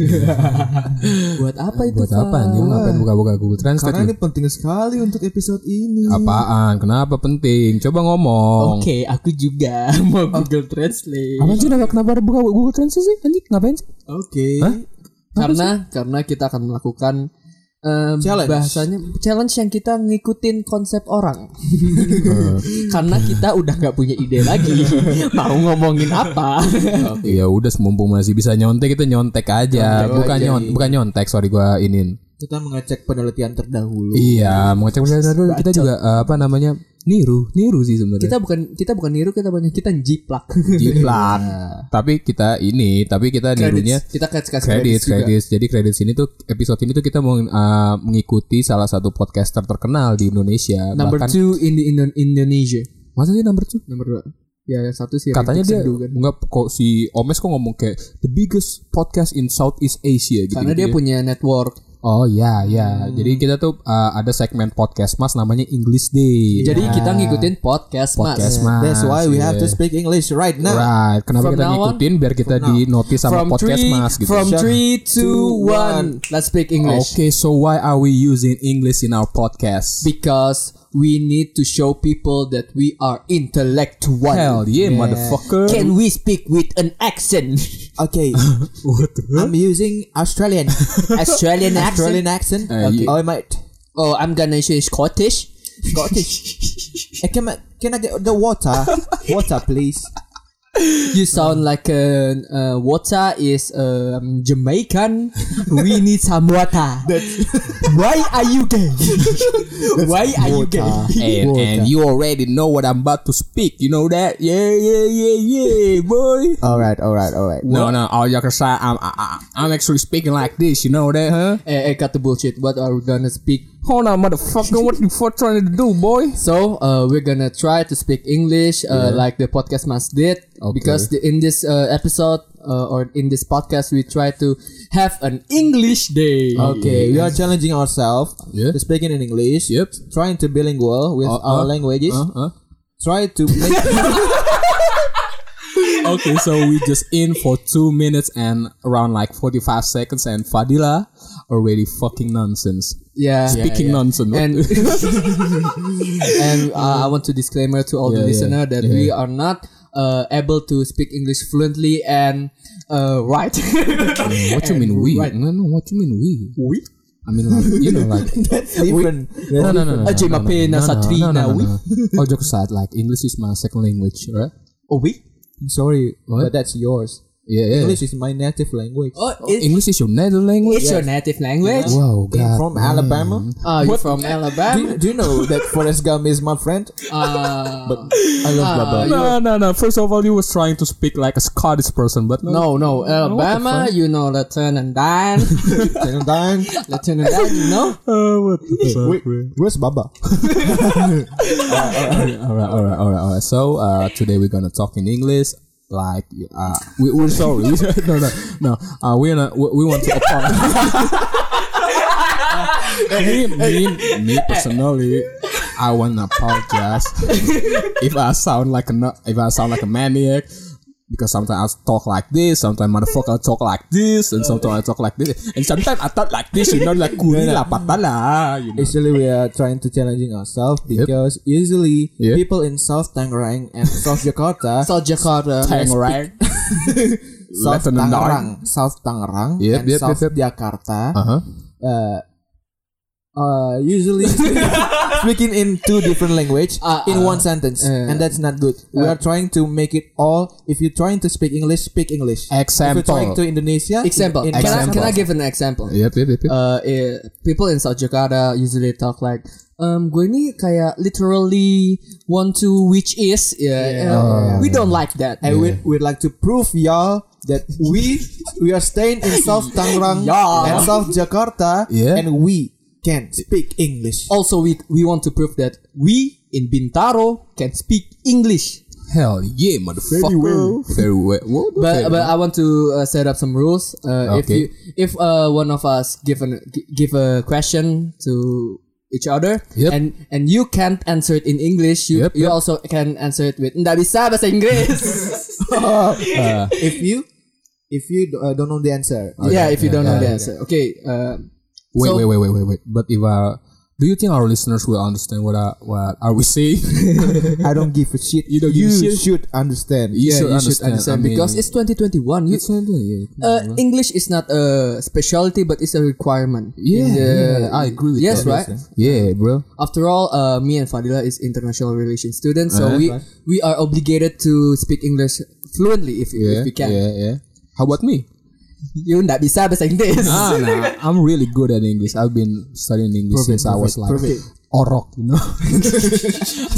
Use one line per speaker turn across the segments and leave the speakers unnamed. apa itu?
Buat apa
Fah?
anjing? Ngapain gitu? buka-buka Google
Karena
Translate? lu?
ini penting sekali untuk episode ini.
Apaan? Kenapa penting? Coba ngomong.
Oke, aku juga mau Google Translate.
Apa sih kenapa kenapa buka Google Translate sih? Anjing ngapain sih?
Oke.
karena karena kita akan melakukan eh,
Challenge.
bahasanya challenge yang kita ngikutin konsep orang karena kita udah nggak punya ide lagi mau ngomongin apa
Ya udah mumpung masih bisa nyontek kita nyontek aja. iya.
Nyontek
bukan
aja,
nyon- bukan nyontek, sorry gua inin.
Kita mengecek penelitian terdahulu.
Iya, mau cek misalnya dulu kita juga eh, apa namanya? Niru, niru sih sebenarnya.
kita bukan kita bukan niru kita banyak kita jiplak
jiplak. tapi kita ini, tapi kita nirunya
Credits. kita kasih kasih
kredit
credits juga.
kredit jadi kredit ini tuh episode ini tuh kita mau uh, mengikuti salah satu podcaster terkenal di Indonesia
number
bahkan
two in the Indo- Indonesia
masa sih number two
nomor dua ya yang satu sih
katanya
Rintik
dia
Sendu kan.
nggak kok si Omes kok ngomong kayak the biggest podcast in Southeast Asia gitu
karena dia Hmm. punya network
oh ya ya jadi kita tuh uh, ada segmen podcast mas namanya English Day Nah,
jadi kita ngikutin podcast,
Iya. podcast
mas
mas
That's why we have to
yeah.
speak English right now.
Right. Kenapa
From
kita
now on-
ngikutin biar kita di notice sama podcast
three,
mas gitu.
from
Sure.
three to
Two,
one let's speak English
Okay, so why are we using English in our podcast?
because we need to show people that we are intellectual.
Hell yeah, motherfucker.
Can we speak with an accent?
Hmm. Okay. I'm using Australian
Australian accent.
Australian accent.
Uh,
okay.
you-
Oh, mate.
Oh, I'm gonna say Scottish.
Eh, can I, can I get the water? water, please.
You sound like an uh, water is um, Jamaican. we need some water. Why are you gay? Why are you gay?
and, and you already know what I'm about to speak. You know that? Yeah, yeah, yeah, yeah, boy.
All right, all right, all right.
No, no, all y'all can say I'm, I, I- I'm actually speaking like this. You know that, huh?
Eh, eh, cut the bullshit. What are we gonna speak?
Hold on, motherfucker. what you for trying to do, boy?
So uh, we're gonna try to speak English, uh, like the podcast mas did, because the, in this uh, episode uh, or in this podcast we try to have an English day.
Okay, we are challenging ourselves
Yeah.
to speaking in English.
Yep.
Trying to bilingual with
Uh,
our
uh,
languages.
Uh, uh.
Try to make
Okay, so we just in for two minutes and around like 45 seconds, and Fadila already fucking nonsense.
yeah,
Speaking
yeah,
nonsense.
yeah. and and uh, I want to disclaimer to all the
Yeah, yeah,
listener that
yeah.
we are not uh, able to speak English fluently and uh, right.
what you mean we?
Right.
No, no, what you mean we?
We?
I mean, like, you know, like
different.
no, no, no, no, no,
Ajay
no, no,
Mapena
no, no,
Satria
no, no, no,
Nawi.
no. All jokes aside, like English is my second language, right?
Oh we?
I'm sorry,
What?
but that's yours.
Yeah, yeah. English,
English is my native language.
Oh, it's,
is your native language.
it's your native language.
Wow,
I'm
God.
Uh, from Alabama.
Uh, you're from
Do
Alabama.
you, do you know that Forrest Gump is my friend?
Ah.
Uh,
I love Baba.
No, no, no. First of all, you was trying to speak like a Scottish person, but no.
No, no, Alabama, you know, Latin and Dan.
Then Dan,
Latin and Dan, you know?
Uh, what the fuck?
wait, where's Baba?
all right, all right, all right, all right. So uh, today we're gonna talk in English. Like, uh, we, we're sorry. no, no, no. Uh, we're not. We, we want to apologize. me, me, me personally, I want to apologize if I sound like a nu- if I sound like a maniac. Because sometimes I talk like this, sometimes motherfucker talk like this, and sometimes I talk like this, and sometimes I talk like this, you know, like kuni la patala, you know.
Actually, we are trying to challenging ourselves because usually
Yep.
people in South Tangerang and South Jakarta,
South Jakarta.
Tang, right?
South
Latin and
Tangerang, South Tangerang,
Yep,
and
yep, yep,
South
yep.
Jakarta,
Uh huh.
uh, uh, usually speaking in two different language
Ah,
Uh,
in
uh,
one sentence,
uh,
and that's not good. we
uh,
are trying to make it all. If you're trying to speak English, speak English. If you're trying
Example.
to Indonesia,
Example.
in- in-
Can, I, can I
Example.
give an example?
Yep, yep, yep. yep.
Uh, eh, people in South Jakarta usually talk like, um, gue ini kayak literally want to, which is, yeah, eh, we don't like that.
and we, we'd like to prove y'all that we we are staying in South Tangerang
Yeah.
and South Jakarta,
Yeah.
and we can speak English.
Also, we, we want to prove that we in Bintaro can speak English.
Hell yeah, motherfucker. Very well. Very well. What the
But
hell?
but I want to uh, set up some rules. Uh, If
Okay.
you if uh, one of us give an gi- give a question to each other,
Yep.
and and you can't answer it in English, you
Yep,
you
yep.
also can answer it with nggak bisa bahasa Inggris.
Uh,
if you if you uh, don't know the answer,
yeah, if you
yeah,
don't know
yeah,
the answer. Okay, uh,
Wait,
So-
wait, wait, wait, wait, wait. But if uh, do you think our listeners will understand what uh, what are we saying?
I don't give a shit.
You don't give a shit?
should understand.
You
yeah,
should
you should
understand.
understand
I mean-
because it's 2021. You, uh, English is not a specialty, but it's a requirement.
yeah,
In the-
yeah, I agree with
Yes,
that.
right?
Yeah, bro.
After all, uh, me and Fadila is international relations students, so
Uh,
we
right.
we are obligated to speak English fluently if,
Yeah,
if we can.
yeah, yeah. How about me?
You nggak bisa bahasa Inggris.
ah, nah, I'm really good at English. I've been studying English since I was like
perfect.
orok, you know,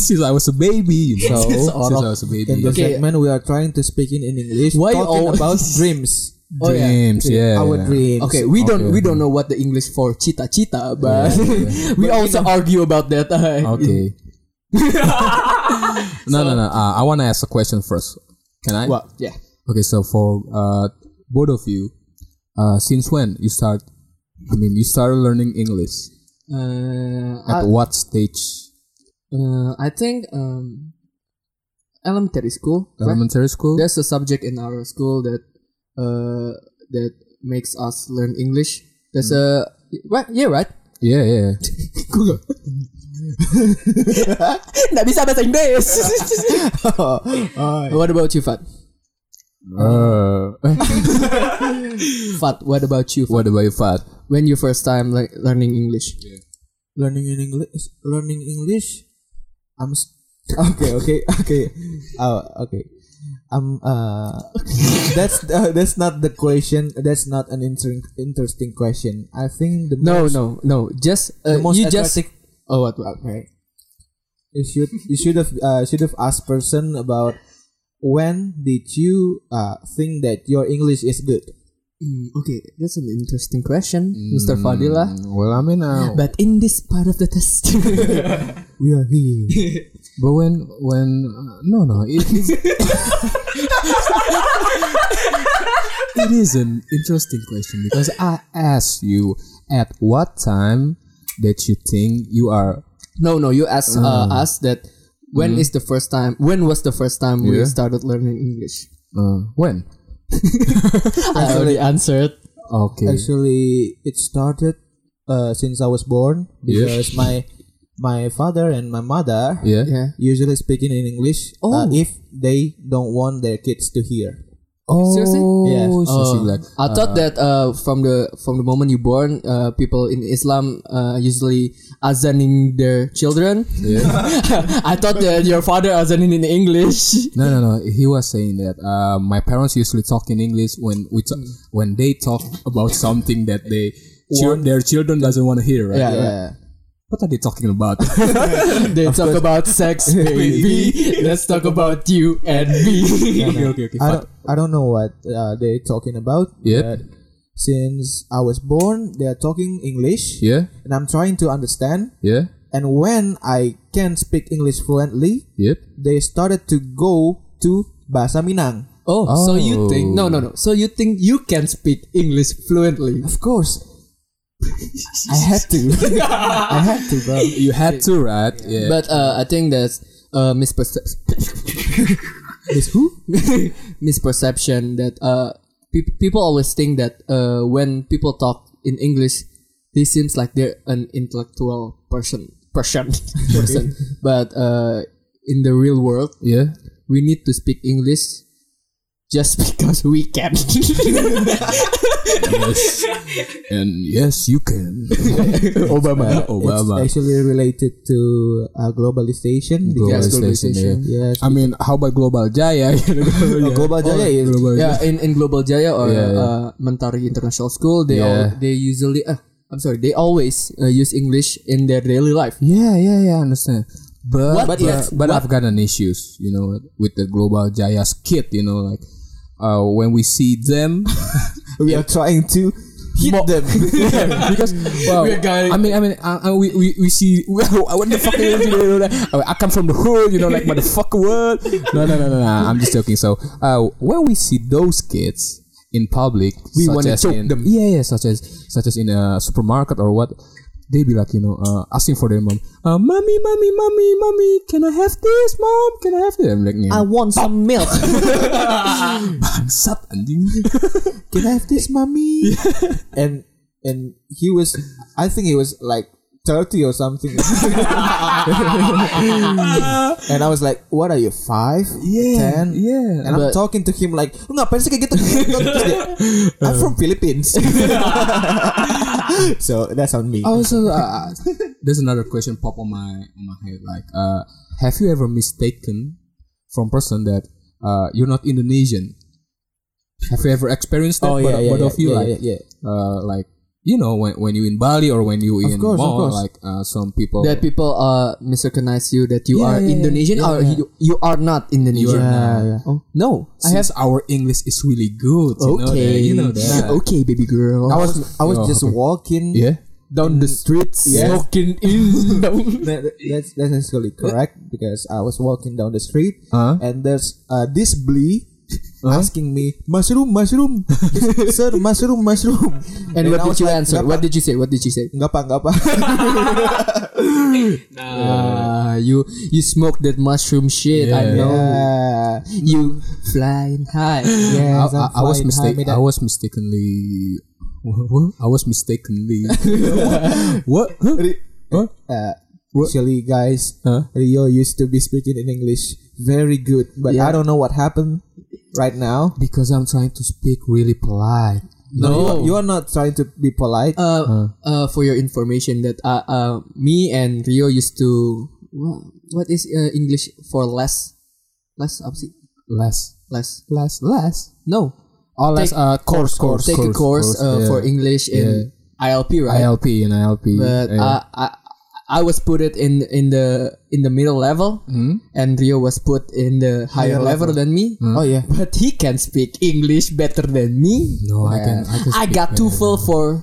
since I was a baby. You know?
So,
since
orok.
I was a baby.
In the
Okay.
segment, we are trying to speak in, in English.
Why
talking
always-
about dreams?
Oh, yeah.
dreams, yeah.
Our
yeah.
dreams.
Okay, we
Okay.
don't we don't know what the English for cita-cita, but we also argue about that. uh,
Okay. no, no, no. Uh, I want to ask a question first. Can I?
Well, yeah.
Okay, so for uh, both of you, uh, since when you start? I mean, you started learning English
Uh,
at
I,
what stage?
uh, I think um, elementary school. right?
Elementary school.
There's a subject in our school that uh, that makes us learn English. There's
Hmm.
a what? Yeah, right.
Yeah, yeah.
Nggak bisa bahasa Inggris. what about you, Fat?
Uh, eh,
Fat, what about you? Fat?
what about you, Fat?
When you first time like learning English?
learning in English. Learning English. I'm. s- okay, okay, okay. Uh, okay. I'm. Uh, that's uh, that's not the question. That's not an interesting interesting question. I think the
No,
most,
no, no. Just uh,
the most
you just
attractive-
oh what? what?
Okay. You should you should have uh, should have asked person about when did you uh, think that your English is good?
Mm, okay, that's an interesting question, Mr. Fadila.
Mm, Well, I mean, uh,
But in this part of the test,
We are here.
but when when uh, no no it is it is an interesting question because I asked you at what time that you think you are
no, no, you asked uh, us that when is the first time? When was the first time we
Yeah.
started learning English?
uh, when
I already answered.
okay
Actually, it started uh, since I was born
Yeah.
because my my father and my mother
yeah
Yeah.
usually speaking in English uh,
Oh.
if they don't want their kids to hear.
oh
Seriously?
Yes.
so she
Oh,
like
I thought that uh, from the from the moment you born, uh, people in Islam uh, usually azaning their children.
yeah.
I thought that your father azaning in English.
no no no he was saying that uh, my parents usually talk in English when we talk, when they talk about something that they chil- their children doesn't want to hear right
Yeah, yeah.
what are they talking about
They talk about sex, baby. Let's talk about you and me.
okay okay okay
I don't, I don't know what uh, they're talking about.
Yep.
but Since I was born, they are talking English,
yeah
and I'm trying to understand.
yeah
And when I can speak English fluently,
yep
they started to go to Bahasa Minang.
Oh, so you
Oh.
think? No, no, no. So you think you can speak English fluently?
Of course. I had to. I had to, bro.
you had to right yeah
But uh, I think that's uh, misperce-
This who?
misperception that uh, peop people always think that uh, when people talk in English, they seems like they're an intellectual person, person, person. But uh, in the real world,
yeah
we need to speak English just because we can.
yes and yes you can
Obama.
Obama
It's actually related to uh, globalization.
Yes,
because-
globalization
globalization.
yeah.
Yes.
I mean how about global jaya
Uh, Global Jaya is
global
yeah, in, in Global Jaya or
Yeah, yeah.
Uh, Mentari International School, they
Yeah.
al- they usually uh, I'm sorry, they always uh, use English in their daily life.
yeah yeah yeah I understand but
What
but,
if-
but I've got an issues you know with the global jaya's kid you know like uh, when we see them
we are trying to hit them.
because well,
We're going-
I mean, I mean, I, I, we, we we see what the fuck is it, you know, like, oh, I come from the hood, you know, like motherfucker. What? No, no, no, no, no. I'm just joking. So, uh, when we see those kids in public,
We
such
wanna
as
choke
in-
them.
Yeah, yeah, such as such as in a supermarket or what. They be like, you know, uh, asking for their mom. Uh, mommy, mommy, mommy, mommy, can I have this, mom? Can I have this? I'm like, yeah,
I want some milk.
bangsat, anjing.
Can I have this, mommy? and and he was I think he was like thirty or something. and I was like, "What are you five?
Yeah,
Ten?
yeah.
And I'm
But-
talking to him like, "Lu ngapain sih kayak gitu?" Terus dia, I'm from Philippines. so that's on me.
Also, uh, there's another question pop on my on my head. Like, uh, have you ever mistaken from person that uh, you're not Indonesian? Have you ever experienced that? Both- both of you,
Oh, yeah,
like,
yeah, yeah.
Uh, like you know, when when you in Bali or when you in
course, of
mall,
course.
like uh, some people
that people uh misrecognize you that
Yeah,
you are
yeah, yeah,
Indonesian
yeah,
or
yeah.
You, you are not
You
Indonesian.
are not.
yeah.
Oh no, I have
since our English is really good, you know that,
okay.
you know that.
Okay, baby girl.
I was I was
Oh,
just
okay.
walking.
Yeah.
down the streets,
Yeah.
smoking in. down.
That, that's that's actually correct because I was walking down the street
Uh-huh.
Huh?
and there's uh, this blee asking me mushroom mushroom sir mushroom mushroom
And what
I was
did you
like,
answer?
"Nggak,
What did you say? What did you say?
nggak pak nggak pak
Ah, you you smoke that mushroom shit. I
Yeah.
know.
Yeah.
You flying high.
Yes,
I, I,
I'm
I was
flying high,
mistaken.
made
I
a-
was mistakenly. What? I was mistakenly. what?
Re-
Huh?
uh, actually guys
Uh.
Huh?
Rio used to be speaking in English very good but I don't know what happened right now
Because I'm trying to speak really polite.
No.
you, you are not trying to be polite
uh, uh, for your information that uh, uh, me and Rio used to wha- what is uh, English for less less apa sih
Less,
less
less, less.
no
Or less.
Take-
Uh, course, course,
take a course,
yeah.
uh, for English in ILP right
ILP and ILP.
but
yeah.
uh, I I was put it in in the in the middle level
Hmm?
and Rio was put in the higher level, than me
oh yeah
but he can speak English better than me
no, I can. I, can
I
speak
got
better.
two full for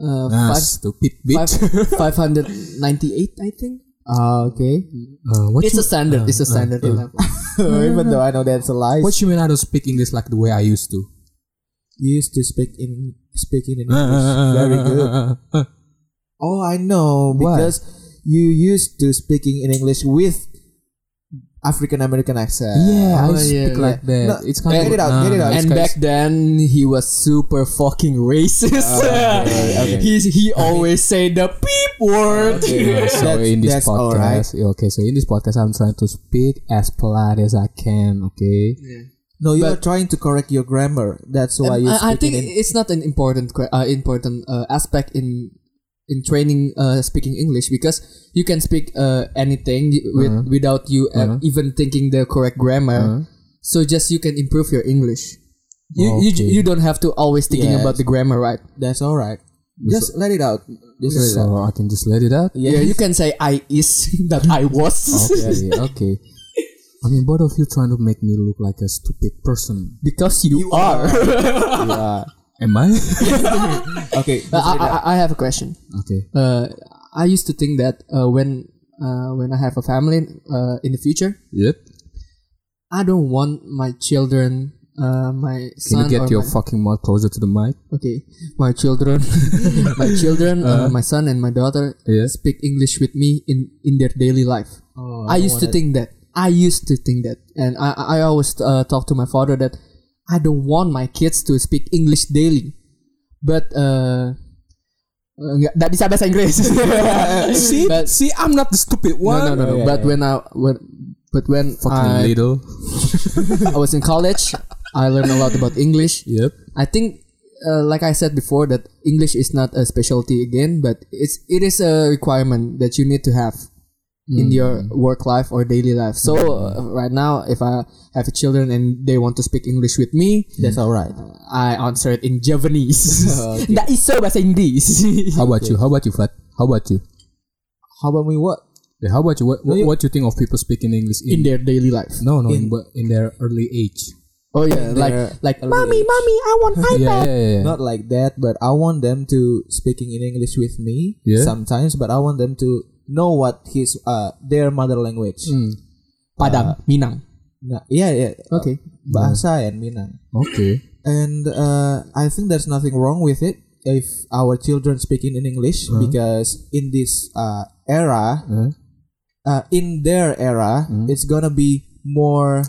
uh,
Ah,
five
stupid bitch.
five hundred ninety-eight, I think.
Ah, okay
Uh, what
It's
you,
a standard. Ah, It's a standard level.
even though I know that's a lie
what you mean? I don't speak English like the way I used to.
you used to speak in speaking in English very good Oh, I know
Why?
because you used to speaking in English with African American accent.
Yeah, I
Oh,
speak
yeah,
like that.
No,
it's kind
get
of
it out,
nah,
get it out.
it's
And
kind-
back then, he was super fucking racist.
Ah,
he he always say the peep word.
Yeah, so
That's-
in this
that's all right.
podcast, okay. So in this podcast, I'm trying to speak as polite as I can. Okay.
No, you are trying to correct your grammar. That's why you.
I, I
speaking
think
in-
it's not an important que- uh, important uh, aspect in in training uh, speaking English because you can speak uh, anything with,
Uh-huh.
without you uh, even thinking the correct grammar. So just you can improve your English. You,
Okay.
you you don't have to always thinking about the grammar, right?
that's all right. Just let it out. Just let it out.
So I can just let it out.
Yeah, you can say I is that I was
Okay. okay. I mean, both of you trying to make me look like a stupid person.
because you, are.
Am I?
Okay.
Uh, I, I, I have a question.
okay.
Uh, I used to think that uh, when uh, when I have a family uh, in the future,
Yep.
I don't want my children, uh, my
Can
son,
you get
or
your
my,
fucking mouth closer to the mic?
okay, my children, my children, uh, my son and my daughter
Yeah.
speak English with me in in their daily life. Oh, I, used to think that. I used to think that, and I I I always uh, talk to my father that I don't want my kids to speak English daily, but uh, uh, nggak nggak bisa bahasa Inggris.
See,
But-
see, I'm not the stupid
no,
one.
no, no, no.
Yeah,
but when I when but when
Fucking
Oh, I,
little.
I was in college, I learned a lot about English.
Yep.
I think, uh, like I said before, that English is not a specialty again, but it's it is a requirement that you need to have in your work life or daily life. So uh, right now, if I have children and they want to speak English with me,
that's all right.
I answer it in Javanese. That is so bahasa Inggris.
How about you? How about you, Fat? How about you?
How about me? What?
Yeah, how about you? What, what, what you think of people speaking English in,
in their daily life.
No, no, in, but in their early age.
Oh yeah,
In
like
their
like ah."
early
mommy,
age."
mommy, I want
Yeah,
iPad.
yeah, yeah.
Not like that, but I want them to speaking in English with me
Yeah.
sometimes. But I want them to know what his uh their mother language.
Padang, Minang.
Nah, yeah, yeah.
Okay.
Bahasa and Minang.
Okay.
and uh, I think there's nothing wrong with it if our children speaking in English because in this uh, era, uh, in their era, it's gonna be more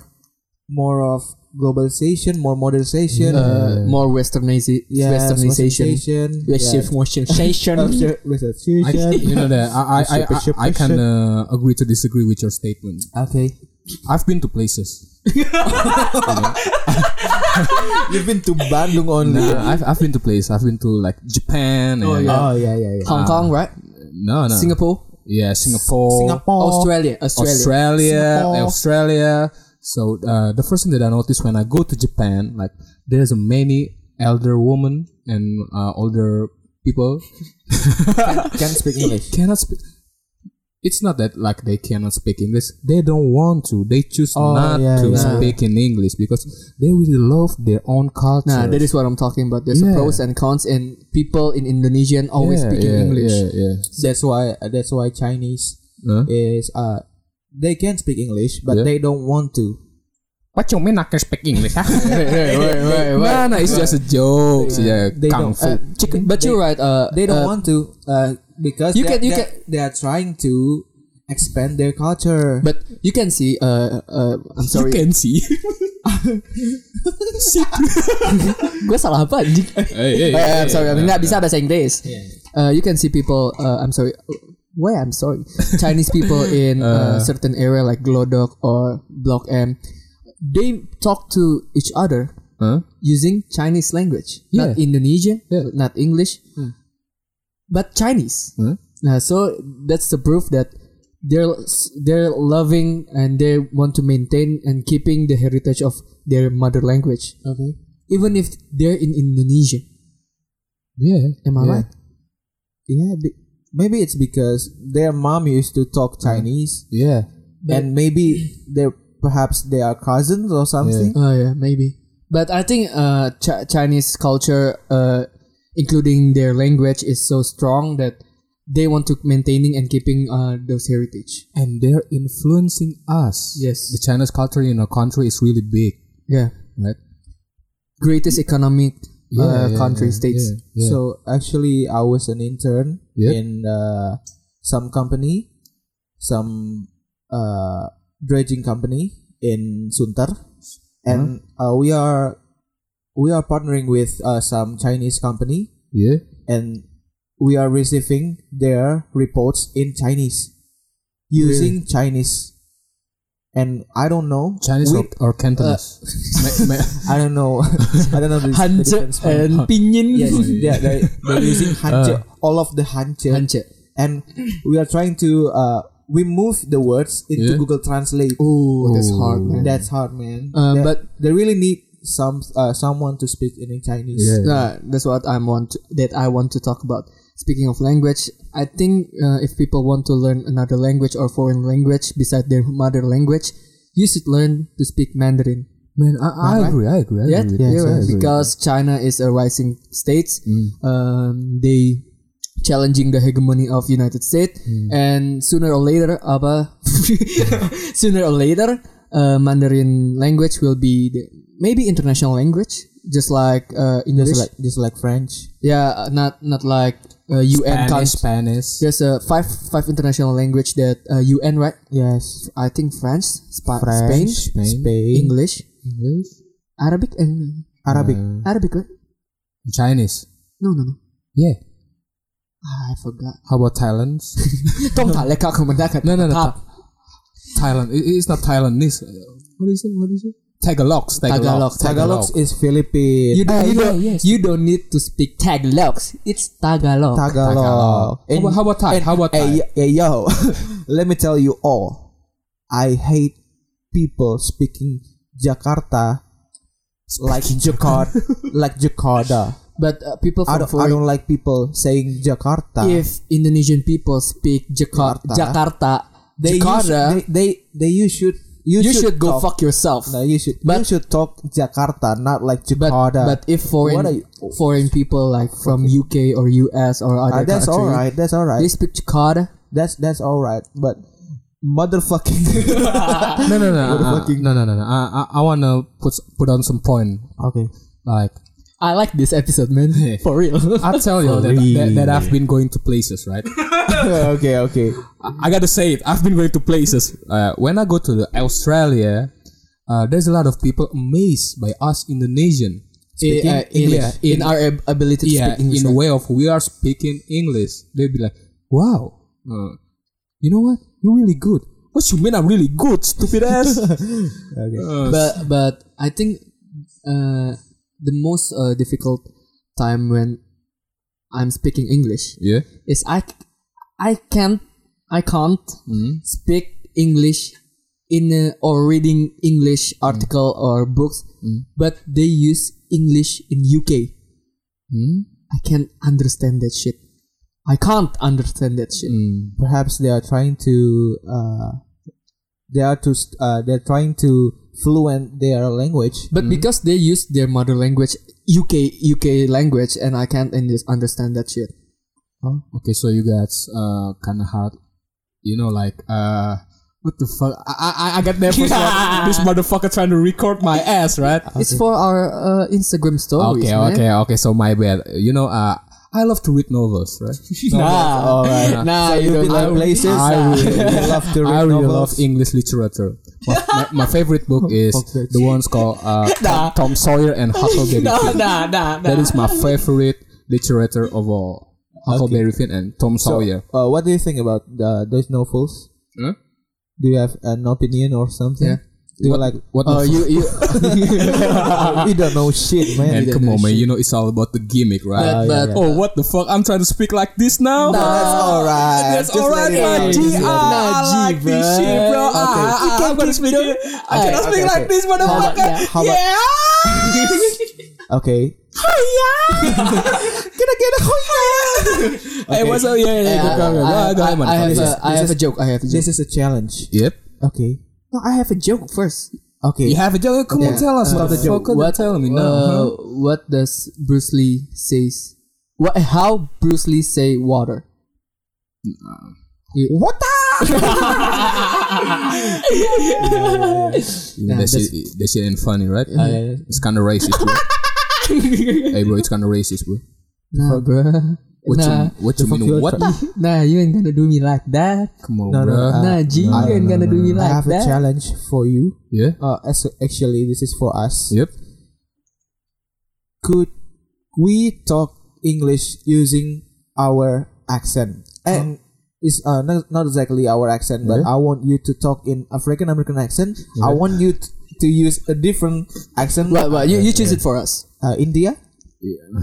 more of globalization, more modernization,
Uh, more westernizi-
yeah,
westernization.
yeah.
Westernization.
Western- westernization.
I, you know that I I I,
Ship, ship,
I, I
ship.
can uh, agree to disagree with your statement.
Okay,
I've been to places.
you've been to Bandung only.
Nah, I've I've been to places. I've been to like Japan. And,
Oh, yeah.
Oh yeah, yeah, yeah.
Hong Kong, right?
No, no.
Singapore,
Yeah, Singapore.
Australia, Australia.
Australia,
Singapore.
Australia. So uh, the first thing that I noticed when I go to Japan, like there's a many elder women and uh, older people
Can't speak English.
cannot speak. It's not that like they cannot speak English. They don't want to. They choose
Oh,
not
yeah,
to
yeah.
speak in English because they really love their own culture.
Nah, that is what I'm talking about. There's
Yeah.
pros and cons, and people in Indonesian
Yeah,
always speaking
yeah,
English.
Yeah, yeah.
That's why. That's why Chinese
Huh?
is uh, they can speak English, but
Yeah.
they don't want to.
What you mean I can speak English? huh?
Wait, wait, wait, wait.
nah, nah, it's just a joke. Yeah,
They
kung
don't.
fu.
uh,
Chicken- but you're right. Uh,
they don't
uh,
want to uh, because
You
they,
can- you
they, they are trying to expand their culture.
But you can see. Uh, uh, I'm sorry.
You can see.
Gue salah apa? anjing?
hey, hey,
Eh, I'm sorry. I'm nggak bisa bahasa Inggris. Uh, you can see people. Uh, I'm sorry. Why I'm sorry. Chinese people in uh, certain area like Glodok or Block M, they talk to each other
Huh?
using Chinese language, not Indonesian, not English,
Hmm.
but Chinese.
Huh?
Uh, so that's the proof that they're they're loving and they want to maintain and keeping the heritage of their mother language,
okay.
even if they're in Indonesia.
Yeah.
Am I
yeah.
right?
Yeah. Be- maybe it's because their mom used to talk Chinese,
Yeah.
and maybe they perhaps they are cousins or something.
Oh yeah, maybe. But I think uh, Ch- Chinese culture, uh, including their language, is so strong that they want to maintaining and keeping uh, those heritage.
And they're influencing us.
Yes.
The Chinese culture in our country is really big,
Yeah,
right?
greatest economic uh,
Yeah, yeah,
country
yeah,
states.
yeah, yeah.
So actually, I was an intern
Yeah.
in uh, some company, some uh, dredging company in Sunter, and
Uh-huh.
uh, we are we are partnering with uh, some Chinese company,
yeah.
and we are receiving their reports in Chinese using Chinese, and I don't know
Chinese
we-
or, or Cantonese. Ma- ma-
I don't know. I don't know the, the
Hanje
difference. from-
and pinyin.
Yes, yeah, they, they're
Uh.
using hanje, all of the hanje,
Hanje.
and we are trying to uh, we move the words into
Yeah.
Google Translate.
Oh, that's hard, man.
That's hard, man.
Uh,
They-
but-
they really need some uh, someone to speak in Chinese.
Yeah.
Nah, that's what I want that I want to talk about. Speaking of language, I think uh, if people want to learn another language or foreign language besides their mother language, you should learn to speak Mandarin.
Man, I, I agree. I agree. I
Yeah,
agree.
yeah,
I agree.
because China is a rising state.
Mm.
Um, they challenging the hegemony of United States,
Mm.
and sooner or later, apa? sooner or later, uh, Mandarin language will be the, maybe international language, just like uh, English.
Just like just like French.
yeah, not not like uh, UN.
Spanish,
Cons-
Spanish.
There's a uh, five five international language that uh, UN right?
Yes,
I think French, Spa- Spain,
French,
Spain,
Spain,
English,
English,
Arabic, and
Arabic.
uh,
Arabic right?
Chinese.
No, no, no.
Yeah.
Ah, I forgot.
How about Thailand?
Tong tak lekak kemendakan.
no, no, no.
Tap.
Thailand. It- it's not Thailandese. Uh, What is it? What is it? Tagalogs. Tagalogs.
Tagalog is Philippine.
You, don't- you
yeah,
don't,
yes.
you don't need to speak Tagalog. It's Tagalog.
Tagalog.
How about- how about Thai? How about
hey,
Thai?
y- hey, yo, let me tell you all. I hate people speaking Jakarta like Jakarta, like Jakarta.
but uh, people
I
from
don't, I
foreign,
don't like people saying Jakarta.
if Indonesian people speak Jakar-
Jakarta.
Jakarta,
they
Jakarta,
You, sh- they, they, they, you should, you,
you should go
talk,
fuck yourself.
No, you should, you
But-
should talk Jakarta, not like
but
Jakarta.
but if foreign
What are you-
foreign people like from UK or US or
Ah,
other
that's all
country,
right. That's all
they
right.
speak Jakarta.
That's that's all right. But motherfucking.
no, no, no, uh, uh, no, no, no, no. I, I, I wanna put put on some point.
okay.
Like
I like this episode, man. uh, For real.
I tell you that, that, that I've been going to places, right?
okay. Okay.
I, I gotta say it. I've been going to places. Uh, when I go to the Australia, uh, uh, there's a lot of people amazed by us Indonesian speaking
uh, in,
English.
yeah, in our ab- ability to
yeah,
speak English.
in a way of we are speaking English. They'd be like, wow, uh, you know what? You're really good. What you mean I'm really good, stupid ass? Uh,
but but I think uh, the most uh, difficult time when I'm speaking English
yeah.
is I I can't I can't
Mm-hmm.
speak English in a, or reading English article or books, but they use English in UK. I can't understand that shit. I can't understand that shit.
perhaps they are trying to uh, they are to st- uh, they're trying to fluent their language
But because they use their mother language, UK UK language, and I can't in- understand that shit.
Okay, so you guys uh, kind of hard, you know, like uh, what the fuck? I I, I got nervous. like, this motherfucker trying to record my ass, right?
It's for our uh, Instagram stories.
Okay,
man.
okay, okay. So my bad. You know, uh, I love to read novels, right?
uh,
Nah, nah,
You've
you don't
been like
know.
places
I really-
You love to read
I really
novels.
love English literature. My, my, my favorite book is the one's called uh, Tom, Tom Sawyer and Huckleberry Finn.
nah, nah, nah.
That is my favorite literature of all. Huckleberry Finn and Tom Sawyer.
uh, what do you think about uh, those novels
Huh?
do you have an opinion or something
Yeah.
do uh, you like
What
Oh,
the
you, you,
you don't know shit man
And come on, man. You know it's all about the gimmick, right?
but, but
oh, what the fuck? I'm trying to speak like this now.
that's alright
That's
Just
alright,
let it
my
out.
G.
Just let
ah,
it out.
I- I like this
Najee,
shit, bro.
bruh.
Ah,
Okay.
ah, ah, I'm gonna speak. it. I
Okay,
cannot speak
okay,
like
okay.
this,
about-
motherfucker.
yeah,
how about-
Yeah.
okay
Gonna get a oh, Hey, what's up? Yeah, yeah,
I,
yeah. go, go, go.
I,
Go, go, ahead,
I, I have
motherfucker.
a, I have a joke. I have a
this
joke.
is a challenge
Yep.
okay
No, I have a joke first.
okay Uh,
You have a joke? Come on, tell us about the joke.
What
Tell me
Uh,
now.
What does Bruce Lee says? What? How Bruce Lee say water? You,
What the?
Nah,
That
that's-
shit, that shit ain't funny, right? It's kind of racist, bro. hey, bro, it's kind of racist, bro.
nah, bruh.
What
nah,
you, what you
fuck
mean?
you
What
try-
the?
nah, you ain't gonna do me like that.
Come on,
No, no,
bro.
uh,
nah, G,
no,
you ain't gonna do me
I
like
have
that.
a challenge for you
yeah.
uh, as actually this is for us
Yep.
could we talk English using our accent? And it's uh, not, not exactly our accent, but I want you to talk in African American accent. I want you t- to use a different accent,
Well, well, you, you choose it for us.
uh, India,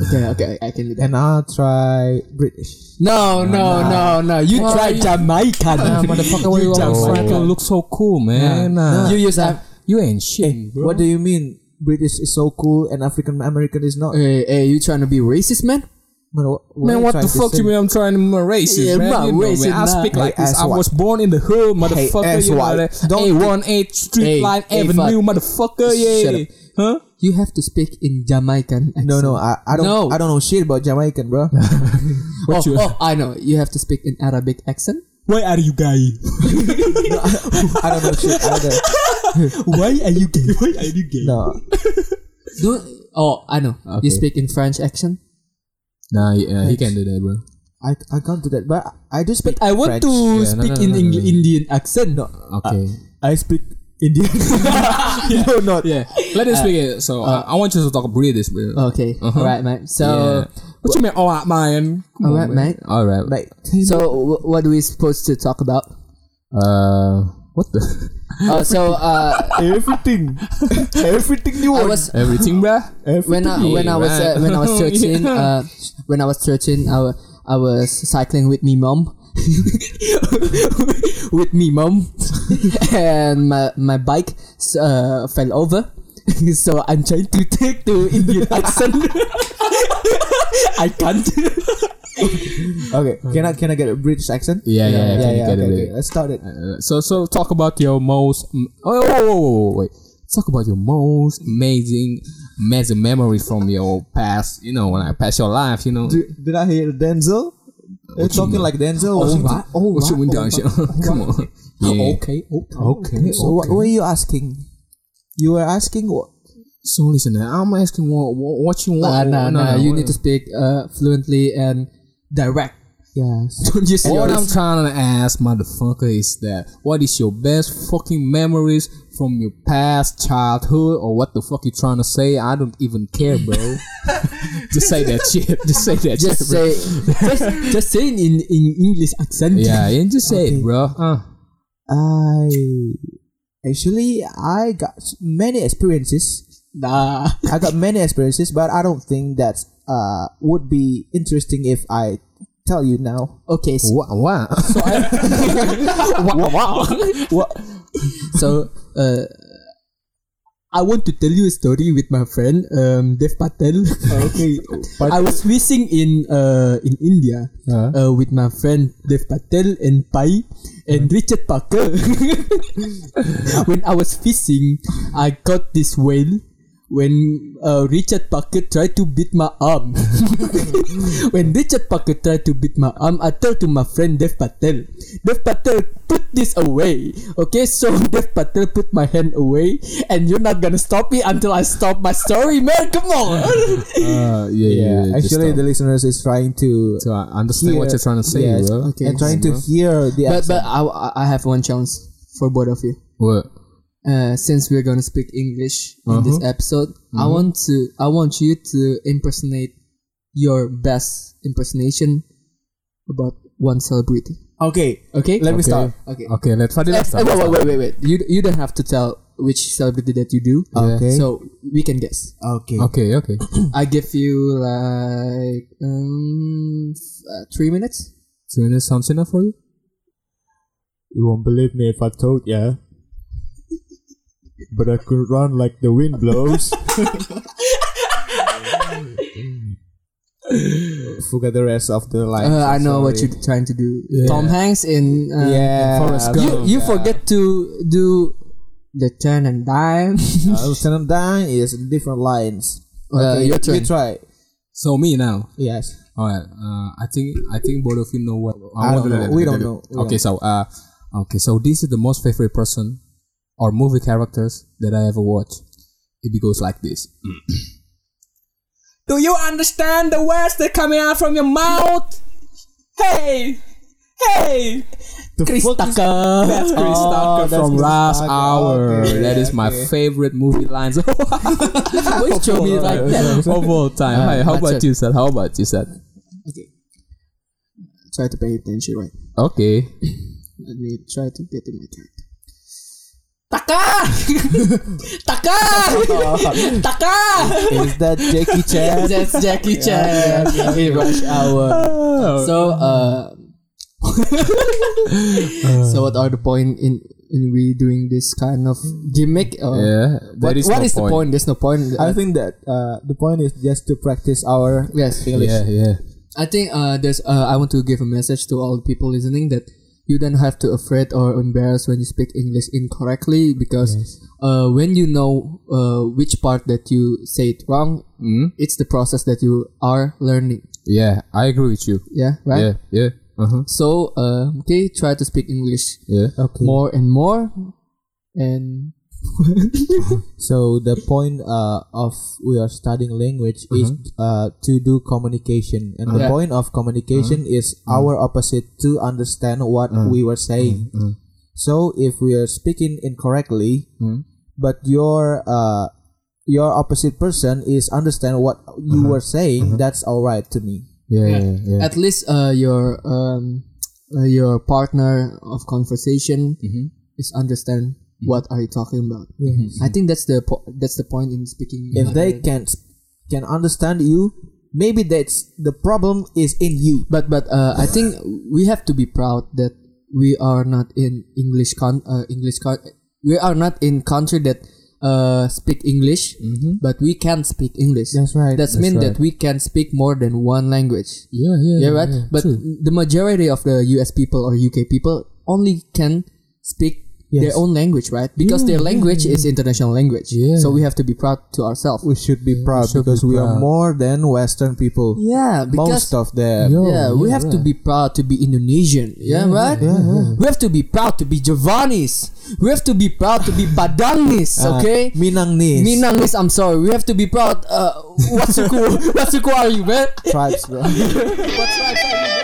Okay, okay, I can do that.
and I'll try British.
Oh,
No, no, no, no. You try Jamaican.
motherfucker,
you
Franklin
Jamaican.
look so cool, man. Nah.
You use that.
You ain't shit.
What do you mean? British is so cool and African American is not.
Hey, hey, you trying to be racist, man?
Man, wha- are
Man,
you
what
trying
the
to
fuck you
say?
mean? I'm trying to be racist,
Yeah,
man.
man,
You know, man.
racist,
I
nah.
speak like
Hey,
this. I
asswipe.
was born in the hood, motherfucker. you know
asswipe.
that.
Don't
A one eight
Hey,
Street Line
hey,
Avenue,
fuck.
motherfucker.
Shut
Yeah.
up.
Huh?
You have to speak in Jamaican. Accent.
No, no, I, I don't.
No.
I don't know shit about Jamaican, bro.
Oh,
What you?
oh, I know. You have to speak in Arabic accent.
Why are you gay?
I don't know shit either.
Why are you gay? Why are you gay?
No,
Don't. Oh, I know.
Okay.
You speak in French accent.
Nah, yeah, he can do that, bro.
I, I can't do that. But I do speak.
I
French.
want to
Yeah, no,
speak
no,
in
no, no,
Eng-
no.
Indian accent.
Okay.
I speak Indian. No, not.
yeah. Let us speak it. So uh, I want you to talk British, bro.
Okay, alright, mate. So,
Uh-huh. Yeah. What you mean, all right, man? Come
All
on,
right, mate.
All right.
Like,
so wh- what are we supposed to talk about?
Uh, what the?
Uh, so, uh,
everything, everything you
I was
Everything, bro.
when I when I was uh, when I was thirteen, uh, when I was thirteen, I, wa- I was cycling with me mom, with me mom, and my my bike s- uh, fell over, so I'm trying to take the Indian accent. I can't.
okay, can I can I get a British accent?
Yeah, yeah, yeah.
yeah,
can you get
okay,
a bit?
okay, Let's start it.
Uh, so so talk about your most mm, oh, whoa, whoa, whoa, whoa, wait talk about your most amazing amazing memory from your past you know when I past your life you know
Did, did I hear Denzel? They're talking like Denzel.
oh,
Washington.
what? oh, what you mean down shit? come on yeah.
Okay. Okay.
okay
So what were you asking? You were asking what?
so listen I'm asking what what, what you
Ah,
want
Nah, nah, nah. You
what-
need to speak uh, fluently and direct.
Yes.
Don't use
What I'm
yours.
trying to ask, motherfucker, is that what is your best fucking memories from your past childhood or what the fuck you trying to say? I don't even care, bro. Just say that shit. Just say that shit.
Just
bro.
say, just, just say it in in English accent.
Yeah, and just say it, bro. Uh,
I actually I got many experiences.
Nah.
I got many experiences, but I don't think that uh would be interesting if I tell you now.
Okay. So,
wow, wow.
so uh, I want to tell you a story with my friend um, Dev Patel. okay. I was fishing in uh, in India
Uh,
uh, with my friend Dev Patel and Pai and Richard Parker. when I was fishing, I caught this whale. When uh, Richard Parker tried to beat my arm, when Richard Parker tried to beat my arm, I told to my friend Dev Patel, Dev Patel, put this away. Okay, so Dev Patel put my hand away, and you're not gonna stop me until I stop my story, man. Come on.
uh, yeah, yeah. yeah
actually, the
just,
listeners is trying to
uh, so I understand what
hear-
you're trying to say,
yes,
bro.
okay.
and trying to
Bro.
hear the
but
accent.
but I I have one chance for both of you.
What?
Uh, since we're gonna speak English in
Uh-huh.
this episode, I
Mm-hmm.
want to I want you to impersonate your best impersonation about one celebrity.
okay,
Okay,
let me
Okay.
start.
Okay.
Okay, let's find
Eh,
it
eh, wait, wait, wait, wait, wait. You you don't have to tell which celebrity that you do.
Okay.
So we can guess.
Okay.
Okay, okay.
I give you like um f- uh, three minutes.
So, is something enough for you?
You won't believe me if I told ya. But I could run like the wind blows.
Forget the rest of the line.
Uh, I know what you're trying to do. Tom Hanks in uh,
Yeah. Forrest
You
Gump.
you forget to do the turn and dime.
Uh, Shannon Dine is different lines.
Uh, your turn.
You try.
So, me now.
Yes.
Alright, uh, I think I think both of you know what.
I don't know. We don't know. We
Okay, so uh, okay, so this is the most favorite person or movie characters that I ever watched. It goes like this. Do you understand the words that coming out from your mouth? Hey, hey,
Chris Tucker.
that's Chris Tucker
Oh, that's
from
Chris
last
Tucker.
hour.
Okay,
that is my
okay.
favorite movie lines. Oh, Why you show me like that of all time?
Uh,
hey, how
that's
about
it.
you, said? How about you, said?
Try to pay attention, right?
Okay.
Let me try to get in my character. Taka! Taka! Taka!
Is that Jackie Chan?
That's Jackie Chan in Rush Hour. So, uh, so what are the point in in we doing this kind of gimmick? Or
Yeah,
what
there is
what
no
is the point? There's no point.
I think that uh, the point is just to practice our
yes,
Yeah, yeah.
I think uh, there's uh, I want to give a message to all the people listening that you don't have to afraid or embarrassed when you speak English incorrectly because uh, when you know uh, which part that you say it wrong,
Mm?
it's the process that you are learning.
Yeah, I agree with you.
Yeah, right.
Yeah, yeah. Uh-huh.
So uh, okay, try to speak English
Yeah.
Okay.
more and more, and
So the point uh, of we are studying language is
Mm-hmm.
uh, to do communication, and the
Yeah.
point of communication
Mm-hmm.
is our opposite to understand what we were saying.
Mm-hmm.
So if we are speaking incorrectly,
Mm-hmm.
but your uh, your opposite person is understand what you
Mm-hmm.
were saying, that's all right to me.
Yeah, yeah, yeah.
at least uh, your um, uh, your partner of conversation
Mm-hmm.
is understand what are you talking about. I think that's the po- that's the point in speaking.
If they can can understand you, maybe that's the problem is in you.
but but uh, I think we have to be proud that we are not in English con uh, English con we are not in country that uh, speak English, but we can speak English.
Mm-hmm. That's right.
That's, mean that we can speak more than one language.
Yeah, yeah.
Yeah, right. but the majority of the US people or UK people only can speak their
Yes.
own language, right? Because their language is international language.
Yeah.
So we have to be proud to ourselves.
we should be proud
Mm, should
because we
be
are
proud.
more than Western people.
Yeah,
Most
because
of them.
Yo,
yeah, we have to
right.
be proud to be Indonesian. Yeah, right. We have to be proud to be Giovanni's. We have to be proud to be Padangis. Okay.
Minangnis.
Minangis, I'm sorry. We have to be proud. Uh, what suku? what suku are you, man?
tribes, bro.
What tribe are you, man?